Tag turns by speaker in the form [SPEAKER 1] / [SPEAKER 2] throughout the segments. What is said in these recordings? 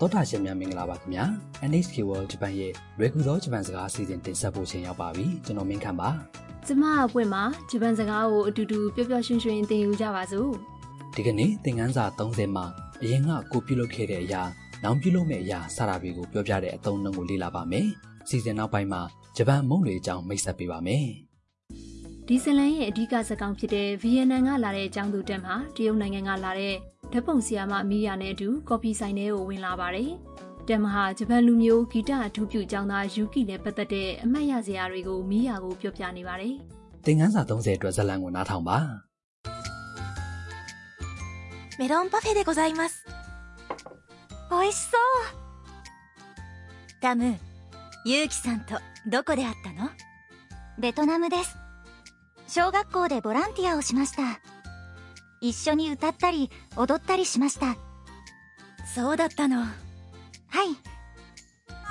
[SPEAKER 1] တောတာရှင်များမင်္ဂလာပါခင်ဗျာ NHK World Japan ရဲ့ရေကူသောဂျပန်စကားအစီအစဉ်တင်ဆက်ဖို့ချိန်ရောက်ပါပြီကျွန်တော်မင်းခန့်ပါ
[SPEAKER 2] ကျမအပွင့်မှာဂျပန်စကားကိုအတူတူပျော်ပျော်ရွှင်ရွှင်သင်ယူကြပါစို့
[SPEAKER 1] ဒီကနေ့သင်ခန်းစာ30မှာအရင်ကကိုပြုလုပ်ခဲ့တဲ့အရာနောက်ပြုလုပ်မယ့်အရာစတာတွေကိုပြောပြတဲ့အသုံးအနှုန်းကိုလေ့လာပါမယ်စီစဉ်နောက်ပိုင်းမှာဂျပန်မုံတွေအကြောင်းမိတ်ဆက်ပေးပါမယ်
[SPEAKER 2] ဒီဇီလန်ရဲ့အဓိကစကောင်ဖြစ်တဲ့ဗီယက်နမ်ကလာတဲ့အကြောင်းသူတက်မှာတရုတ်နိုင်ငံကလာတဲ့ဓာတ်ပုံဆီယာမအမီယာနဲ့အတူကော်ဖီဆိုင်ထဲကိုဝင်လာပါတယ်တက်မဟာဂျပန်လူမျိုးဂီတအထူးပြုကျောင်းသားယူကီနဲ့ပတ်သက်တဲ့အမှတ်ရစရာတွေကိုမီယာကိုပြောပြနေပါတယ်
[SPEAKER 1] သင်ခန်းစာ30အတွက်ဇာတ်လမ်းကိုနားထောင်ပါ
[SPEAKER 3] メロンパフェでございます。美味しそうタム、ユウキさんとどこで会ったのベトナムです。小学校でボランティアをしました。一緒に歌ったり踊ったりしました。そうだったの。は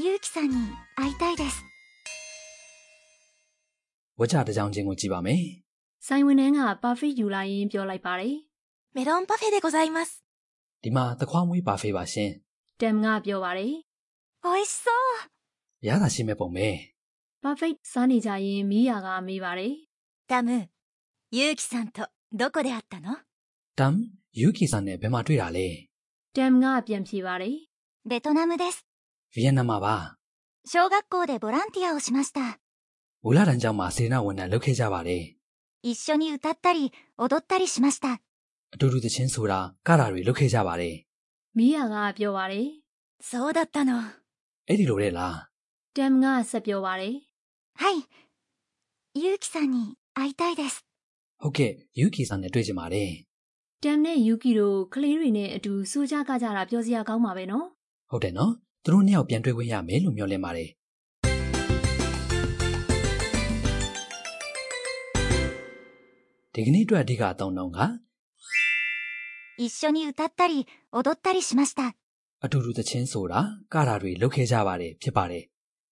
[SPEAKER 3] い。ユウキさんに会いたいです。
[SPEAKER 1] ဝါကြတစ်ကြောင်ချင်းကိုကြည့်ပါမယ်
[SPEAKER 2] ဆိုင်ဝင်ထဲက perfect ယူလာရင်းပြောလိုက်ပါတယ်
[SPEAKER 3] メロンパフェでございます。
[SPEAKER 1] ဒီမှာသခွားမွေးပါဖေးပါရှင်
[SPEAKER 2] တက်မကပြောပါတယ်
[SPEAKER 3] 美味しそう
[SPEAKER 1] ရတာရှိမဲ့ပုံပဲ
[SPEAKER 2] perfect စားနေကြရင်မီယာကမေးပါတယ်
[SPEAKER 3] タム、ユウキさんとどこで会ったの
[SPEAKER 1] တမ်ယူကီဆန်နဲ့ဘယ်မှာတွေ့တာလဲ
[SPEAKER 2] တက်မကပြန်ဖြေပါတယ်
[SPEAKER 3] ベトナムです。
[SPEAKER 1] ဗီယက်နမ်မှာပါ
[SPEAKER 3] 小学校でボランティアをしました。
[SPEAKER 1] ဘူလာတန်ကျောင်းမှာစေနာဝန်ထမ်းလုပ်ခဲ့ကြပါတယ်
[SPEAKER 3] 一緒に歌ったり、踊ったりしました。
[SPEAKER 1] အတူတူသချင်းဆိုတာကတာတွေလုပ်ခဲ့ကြပါတယ်
[SPEAKER 2] မီယာကပြောပါတယ်
[SPEAKER 3] そうだったの。は
[SPEAKER 1] အဲ့ဒီလိုတဲ့လား
[SPEAKER 2] တမ်ကဆက်ပြောပါတယ်
[SPEAKER 3] い。ゆうきさんに会いたいです。
[SPEAKER 1] ဟုတ်ကဲ့ယူကီဆန်နဲ့တွေ့ချင်ပါတယ်
[SPEAKER 2] ။တမ်နဲ့ယူကီတို့ကလေးတွေနဲ့အတူစူးကြကကြတာပြောစရာကောင်းပါပဲနော်
[SPEAKER 1] ဟုတ်တယ်နော်သူတို့နှစ်ယောက်ပြန်တွေ့ခွင့်ရမယ်လို့မျှော်လင့်ပါတယ်ဒီကနေ့အတွက်အဓိကအသုံးအနှုန်းက
[SPEAKER 3] 一緒に歌ったり、踊ったりしました。
[SPEAKER 1] အတူတူသချင်းဆိုတာကတာတွေလုပ်ခဲ့ကြပါတယ်ဖြစ်ပါတယ်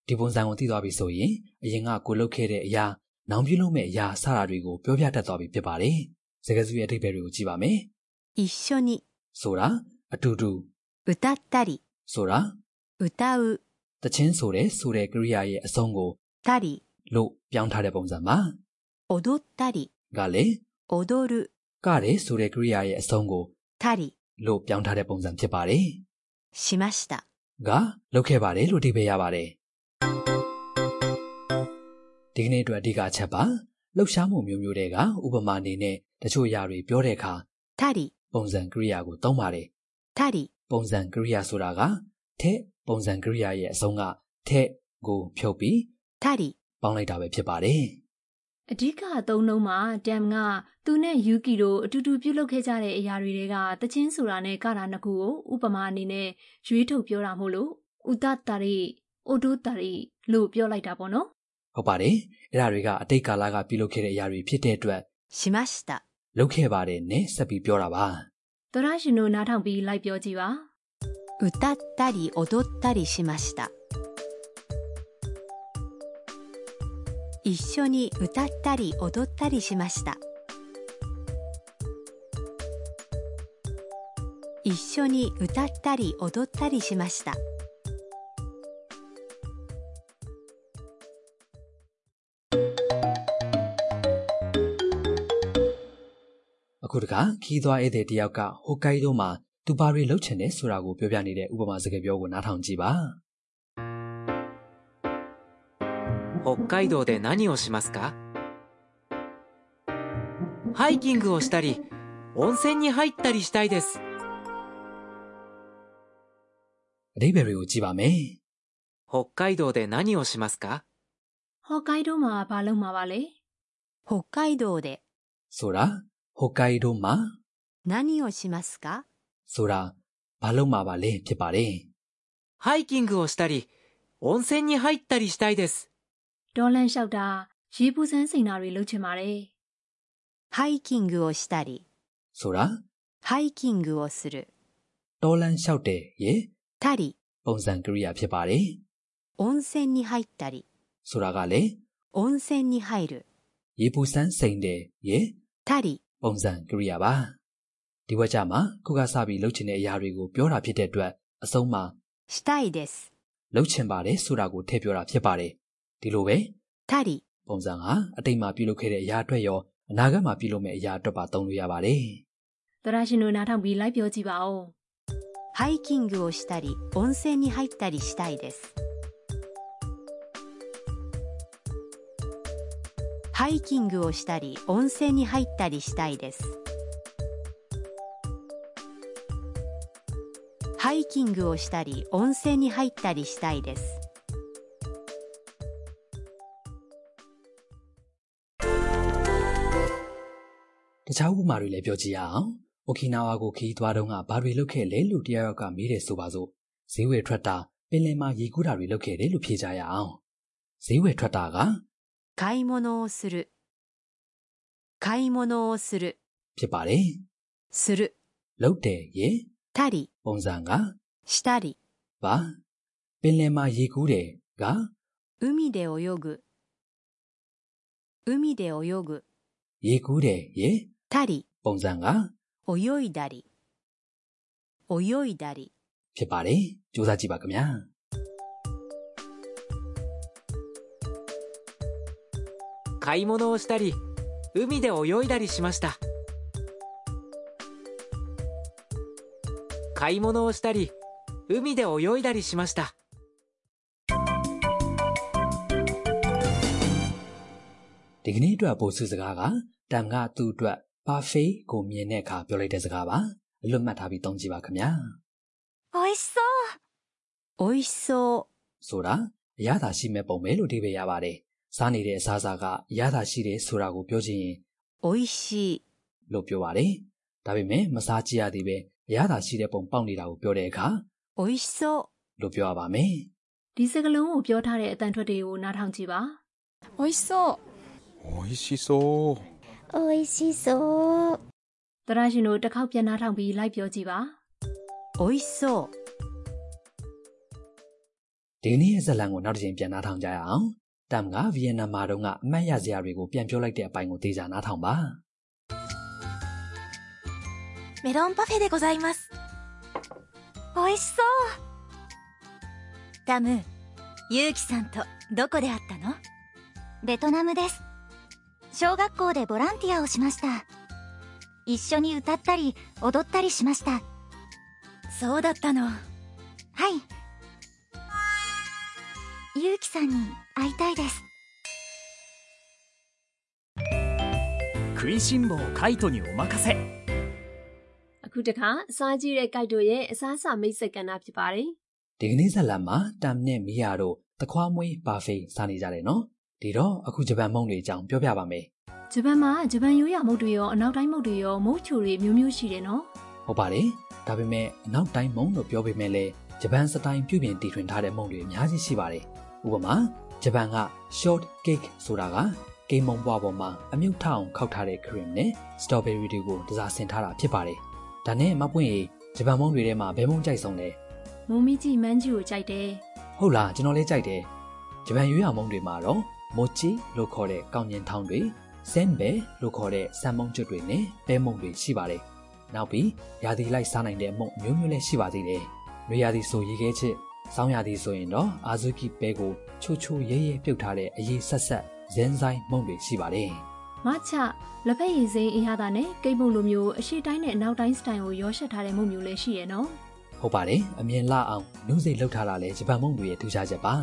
[SPEAKER 1] ဒီပုံစံကိုသိသွားပြီဆိုရင်အရင်ကကိုလုပ်ခဲ့တဲ့အရာနောက်ပြုလုပ်မယ့်အရာစတာတွေကိုပြောပြတတ်သွားပြီဖြစ်ပါတယ်စကားစုရဲ့အဓိပ္ပာယ်တွေကိုကြည့်ပါမယ်
[SPEAKER 3] 一緒に
[SPEAKER 1] ဆိုတာအတူတူ
[SPEAKER 3] 歌ったり、
[SPEAKER 1] ဆိုတာ
[SPEAKER 3] 歌う、
[SPEAKER 1] တချင်းဆိုတဲ့ဆိုတဲ့ကရိယာရဲ့အဆုံးကို
[SPEAKER 3] たり、
[SPEAKER 1] လို့ပြောင်းထားတဲ့ပုံစံပါ
[SPEAKER 3] 踊ったり、
[SPEAKER 1] ကလည်း
[SPEAKER 3] 踊る、
[SPEAKER 1] ကတဲ့ဆိုတဲ့ကရိယာရဲ့အဆုံးကို
[SPEAKER 3] たり、
[SPEAKER 1] လို့ပြောင်းထားတဲ့ပုံစံဖြစ်ပါတယ်
[SPEAKER 3] しました。
[SPEAKER 1] ကလုပ်ခဲ့ပါတယ်လို့ဒီပဲရပါတယ်ဒီကနေ့အတွက်အဓိကအချက်ပါလှုပ်ရှားမှုမျိုးမျိုးတွေကဥပမာအနေနဲ့တချို့အရာတွေပြောတဲ့အခါ
[SPEAKER 3] たり、
[SPEAKER 1] ပုံစံကရိယာကိုသုံးပါတယ်
[SPEAKER 3] たり、
[SPEAKER 1] ပုံစံကရိယာဆိုတာကထက်ပုံစံကရိယာရဲ့အဆုံးကထက်ကိုဖြုတ်ပြီး
[SPEAKER 3] たり、
[SPEAKER 1] ပေါင်းလိုက်တာပဲဖြစ်ပါတယ်
[SPEAKER 2] ။အဓိကအသုံးနှုန်းမှာတမ်ကသူနဲ့ယူကီတို့အတူတူပြုလုပ်ခဲ့ကြတဲ့အရာတွေတွေကတချင်းဆိုတာနဲ့ကတာနှစ်ခုကိုဥပမာအနေနဲ့ရွေးထုတ်ပြောတာမို့လို့ဥဒတရီအိုဒိုတရီလို့ပြောလိုက်တာပေါ့နော်
[SPEAKER 1] ဟုတ်ပါတယ်အဲ့ဒါတွေကအတိတ်ကာလကပြုလုပ်ခဲ့တဲ့အရာတွေဖြစ်တဲ့အတွက်
[SPEAKER 3] しました。
[SPEAKER 1] လုပ်ခဲ့ပါတယ်နဲ့ဆက်ပြီးပြောတာပါ
[SPEAKER 2] ။သောရရှင်တို့နားထောင်ပြီးလိုက်ပြောကြည့်ပါ
[SPEAKER 3] 歌ったり、踊ったりしました。一緒に歌ったり、踊ったりしました。一緒に歌ったり、踊ったりしました。
[SPEAKER 1] အခုတခါခီးသွားဧည့်သည်တယောက်ကဟိုကိုက်ဒိုမှာသူဘာတွေလုပ်ချင်တယ်ဆိုတာကိုပြောပြနေတဲ့ဥပမာစကားပြောကိုနားထောင်ကြည့်ပါ
[SPEAKER 4] 北海道で何をしますかハイキングをしたり温泉に入ったりしたいです
[SPEAKER 1] အတိပ္ပယ်တွေကိုကြည့်ပါမယ်
[SPEAKER 4] 北海道で何をしますか
[SPEAKER 2] ။ဟော့ကိုက်ဒိုမှာဘာလုပ်မှာပါလဲ
[SPEAKER 3] 北海道で
[SPEAKER 1] ဆိုတာဟိုကိုက်ဒိုမှာ
[SPEAKER 3] 何をしますか
[SPEAKER 1] ဆိုတာဘာလုပ်မှာပါလဲဖြစ်ပါတယ်
[SPEAKER 4] ハイキングをしたり温泉に入ったりしたいです
[SPEAKER 2] ။ဒေါ်လန်လျှောက်တာရေပူစမ်းစိန်တာတွေလုပ်ချင်ပါတယ်။
[SPEAKER 3] ハイキングをしたり、
[SPEAKER 1] ဆိုတာ
[SPEAKER 3] ハイキングをする。
[SPEAKER 1] တော်လန်းလျှောက်တယ်ရဲ့
[SPEAKER 3] たり、
[SPEAKER 1] ပုံစံကရိယာဖြစ်ပါတယ်
[SPEAKER 3] 温泉に入ったり、
[SPEAKER 1] ဆိုတာကလည်း
[SPEAKER 3] 温泉に入る。
[SPEAKER 1] ရေပူစမ်းစိန်တယ်ရဲ့
[SPEAKER 3] たり、
[SPEAKER 1] ပုံစံကရိယာပါ ဒီဝက်ကြမှာခုကစပြီးလှုပ်ချင်တဲ့အရာတွေကိုပြောတာဖြစ်တဲ့အတွက်အဆုံးမှာ
[SPEAKER 5] したいです。
[SPEAKER 1] လှုပ်ချင်ပါတယ်ဆိုတာကိုထည့်ပြောတာဖြစ်ပါတယ်ဒီလိုပဲ
[SPEAKER 5] たり、
[SPEAKER 1] ပုံစံဟာအတိတ်မှာပြုလုပ်ခဲ့တဲ့အရာအတွက်ရောအနာဂတ်မှာပြုလုပ်မယ့်အရာအတွက်ပါသုံးလို့ရပါတယ်
[SPEAKER 2] သရရှင်တို့နားထောင်ပြီးလိုက်ပြောကြည့်ပါဦး
[SPEAKER 5] ハイキングをしたり、温泉に入ったりしたいです。ハイキングをしたり、温泉に入ったりしたいです。ハイキングをしたり、温泉に入ったりしたいです。
[SPEAKER 1] တခြားဥပမာတွေလည်းပြောကြည့်ရအောင်အိုကီနာဝါကိုခရီးသွားတုန်းကဘာတွေလုပ်ခဲ့လဲလို့တရားရောက်ကမေးတယ်ဆိုပါစို့ဈေးဝယ်ထွက်တာပင်လယ်မှာရေကူးတာတွေလုပ်ခဲ့တယ်လို့ဖြေကြရအောင်ဈေးဝယ်ထွက်တာက
[SPEAKER 5] 買い物をする。買い物をする。
[SPEAKER 1] ဖြစ်ပါတယ်
[SPEAKER 5] する。
[SPEAKER 1] လုပ်တယ်ရေ
[SPEAKER 5] たり、
[SPEAKER 1] ပုံစံက
[SPEAKER 5] したり。
[SPEAKER 1] ပါပင်လယ်မှာရေကူးတယ်က
[SPEAKER 5] 海で泳ぐ。海で泳ぐ。
[SPEAKER 1] ရေကူးတယ်ရေ
[SPEAKER 5] たり、
[SPEAKER 1] ပုံစံက
[SPEAKER 5] 泳いだり。泳いだり。
[SPEAKER 1] ဖြစ်ပါတယ်စူးစမ်းကြည့်ပါခင်ဗျာ
[SPEAKER 4] 買い物をしたり海で泳いだりしました買い物をしたり海で泳いだりしました
[SPEAKER 1] ဒီကနေ့အတွက်ပို့စုစကားကတမ်ကသူ့အတွက်ပါဖေးကိုမြင်တဲ့အခါပြောလိုက်တဲ့စကားပါအလွတ်မှတ်ထားပြီးသုံးကြည့်ပါခင်ဗျာ
[SPEAKER 3] 美味しそう
[SPEAKER 5] おいしそ
[SPEAKER 1] ဆိုတာအရသာရှိမဲ့ပုံပဲလို့ဒီပဲရပါတယ်စားနေတဲ့အစားအစာကအရသာရှိတယ်ဆိုတာကိုပြောချင်ရင်
[SPEAKER 5] う。おいしい。
[SPEAKER 1] လို့ပြောပါတယ်ဒါပေမဲ့မစားကြည့်ရသေးပဲအရသာရှိတဲ့ပုံပေါက်နေတာကိုပြောတဲ့အခါ
[SPEAKER 5] おいしそ
[SPEAKER 1] လို့ပြောရပါမယ်
[SPEAKER 2] ဒီစကလုံးကိုပြောထားတဲ့အတန်ထွက်တွေကိုနားထောင်ကြည့်ပါ
[SPEAKER 6] 美味しそう
[SPEAKER 7] 美味しそう
[SPEAKER 3] 美味しそう
[SPEAKER 2] သရရှင်တို့တစ်ခေါက်ပြန်နားထောင်ပြီးလိုက်ပြောကြည့်ပါ
[SPEAKER 5] う。おいしそう。
[SPEAKER 1] ဒီကနေ့ရဲ့ဇာတ်လမ်းကိုနောက်တစ်ချိန်ပြန်နားထောင်ကြရအောင်တမ်ကဗီယက်နမ်မှာတုန်းကအမှတ်ရစရာတွေကိုပြန်ပြောလိုက်တဲ့အပိုင်းကိုသိကြနားထောင်ပါ
[SPEAKER 3] メロンパフェでございます美味しそうタムユウキさんとどこで会ったのベトナムです小学校でボランティアをしました一緒に歌ったり踊ったりしましたそうだったのはいユウキさんに会いたいです
[SPEAKER 8] 食いしん坊カイトにお任せ
[SPEAKER 2] အခုတခါအစားကြီးတဲ့ကြိုက်တို့ရဲ့အစားအစာမိတ်ဆက်ကဏ္ဍဖြစ်ပါတယ်
[SPEAKER 1] ဒီကနေ့ဇာတ်လမ်းမှာတမ်နဲ့မီယာတို့တခွားမွေးဘာဖိတ်စားနေကြတယ်နော်ဒီတော့အခုဂျပန်မုံတွေအကြောင်းပြောပြပါမယ်
[SPEAKER 2] ဂျပန်မှာဂျပန်ရိုးရာမုတ်တွေရောအနောက်တိုင်းမုတ်တွေရောမုတ်ချိုတွေမျိုးမျိုးရှိတယ်နော်
[SPEAKER 1] ဟုတ်ပါတယ်ဒါပေမဲ့အနောက်တိုင်းမုံလို့ပြောပေမဲ့လည်းဂျပန်စတိုင်ပြုပြင်တည်ထွင်ထားတဲ့မုံတွေအများကြီးရှိပါတယ်ဥပမာဂျပန်က short cake ဆိုတာကကိန်းမုံပွားပေါ်မှာအမြုပ်ထအောင်ခောက်ထားတဲ့ cream နဲ့ strawberry တွေကိုတစားဆင်ထားတာဖြစ်ပါတယ်ဒါနဲ့မပွင့်ရင်ဂျပန်မုံတွေထဲမှာဘယ်မုံကြိုက်ဆုံးလဲ
[SPEAKER 2] မုံမီကြီးမန်းကြီးကိုကြိုက်တယ်
[SPEAKER 1] ဟုတ်လားကျွန်တော်လည်းကြိုက်တယ်ဂျပန်ရွေးရမုံတွေမှာတော့မိုချီလို့ခေါ်တဲ့ကောင်းကျင်ထောင်းတွေဆန်ဘဲလို့ခေါ်တဲ့ဆန်မုံကျွတ်တွေနဲ့ပဲမုံတွေရှိပါတယ်နောက်ပြီးရာသီလိုက်စားနိုင်တဲ့မုံအမျိုးမျိုးလည်းရှိပါသေးတယ်နွေရာသီဆိုရေခဲချစ်ဆောင်းရာသီဆိုရင်တော့အာဇုကိပဲကိုချိုချိုရဲရဲပြုတ်ထားတဲ့အရေးဆက်ဆက်ဇင်းဆိုင်မုံတွေရှိပါတယ်
[SPEAKER 2] မချလက်ဖက်ရည်စိမ်းအင်ဟာတာနဲ့ကိတ်မုံလိုမျိုးအရှိတိုင်းနဲ့အနောက်တိုင်းစတိုင်ကိုရောရှက်ထားတဲ့မုတ်မျိုးလည်းရှိရယ်နော်
[SPEAKER 1] ဟုတ်ပါတယ်အမြင်လအောင်နုစိတ်လောက်ထားတာလည်းဂျပန်မုံတွေရဲ့ထူးခြားချက်ပါ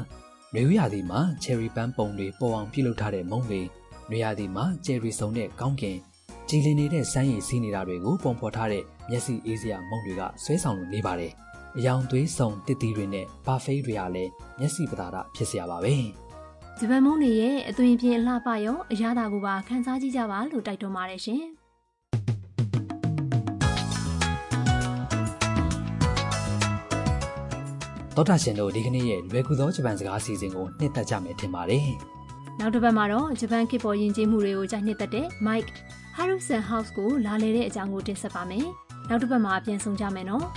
[SPEAKER 1] နွေဦးရာသီမှာ cherry ပန်းပုံတွေပေါ်အောင်ပြုလုပ်ထားတဲ့မုံတွေ နွေရာသီမှာကျယ်ရီစုံတဲ့ကောင်းကင်ကြည်လင်နေတဲ့စမ်းရည်စီးနေတာတွေကိုပုံဖော်ထားတဲ့မျက်စိအေးစရာမုံတွေကဆွဲဆောင်လို့နေပါတယ်။အယောင်သွေးစုံတစ်တီတွေနဲ့ဘာဖိတ်တွေကလည်းမျက်စိပသာဒဖြစ်စရာပါပဲ
[SPEAKER 2] ဂျပန်မုံတွေရဲ့အသွင်ပြင်အလှပရောအရသာကိုပါခန်းစားကြည့်ကြပါလို့တိုက်တွန်းပါတယ်ရှင်
[SPEAKER 1] ။သောတာရှင်တို့ဒီကနေ့ရဲ့လွယ်ကူသောဂျပန်စကားအစီအစဉ်ကိုနှစ်သက်ကြမယ်ထင်ပါတယ်
[SPEAKER 2] နောက်တစ်ပတ်မှာတော့ဂျပန်ခေတ်ပေါ်ယဉ်ကျေးမှုတွေကိုကြိုက်နှစ်သက်တဲ့ Mike Harrison House ကိုလာလေတဲ့အကြောင်းကိုတင်ဆက်ပါမယ်နောက်တစ်ပတ်မှာပြန်ဆောင်ကြမယ်နော်
[SPEAKER 1] ။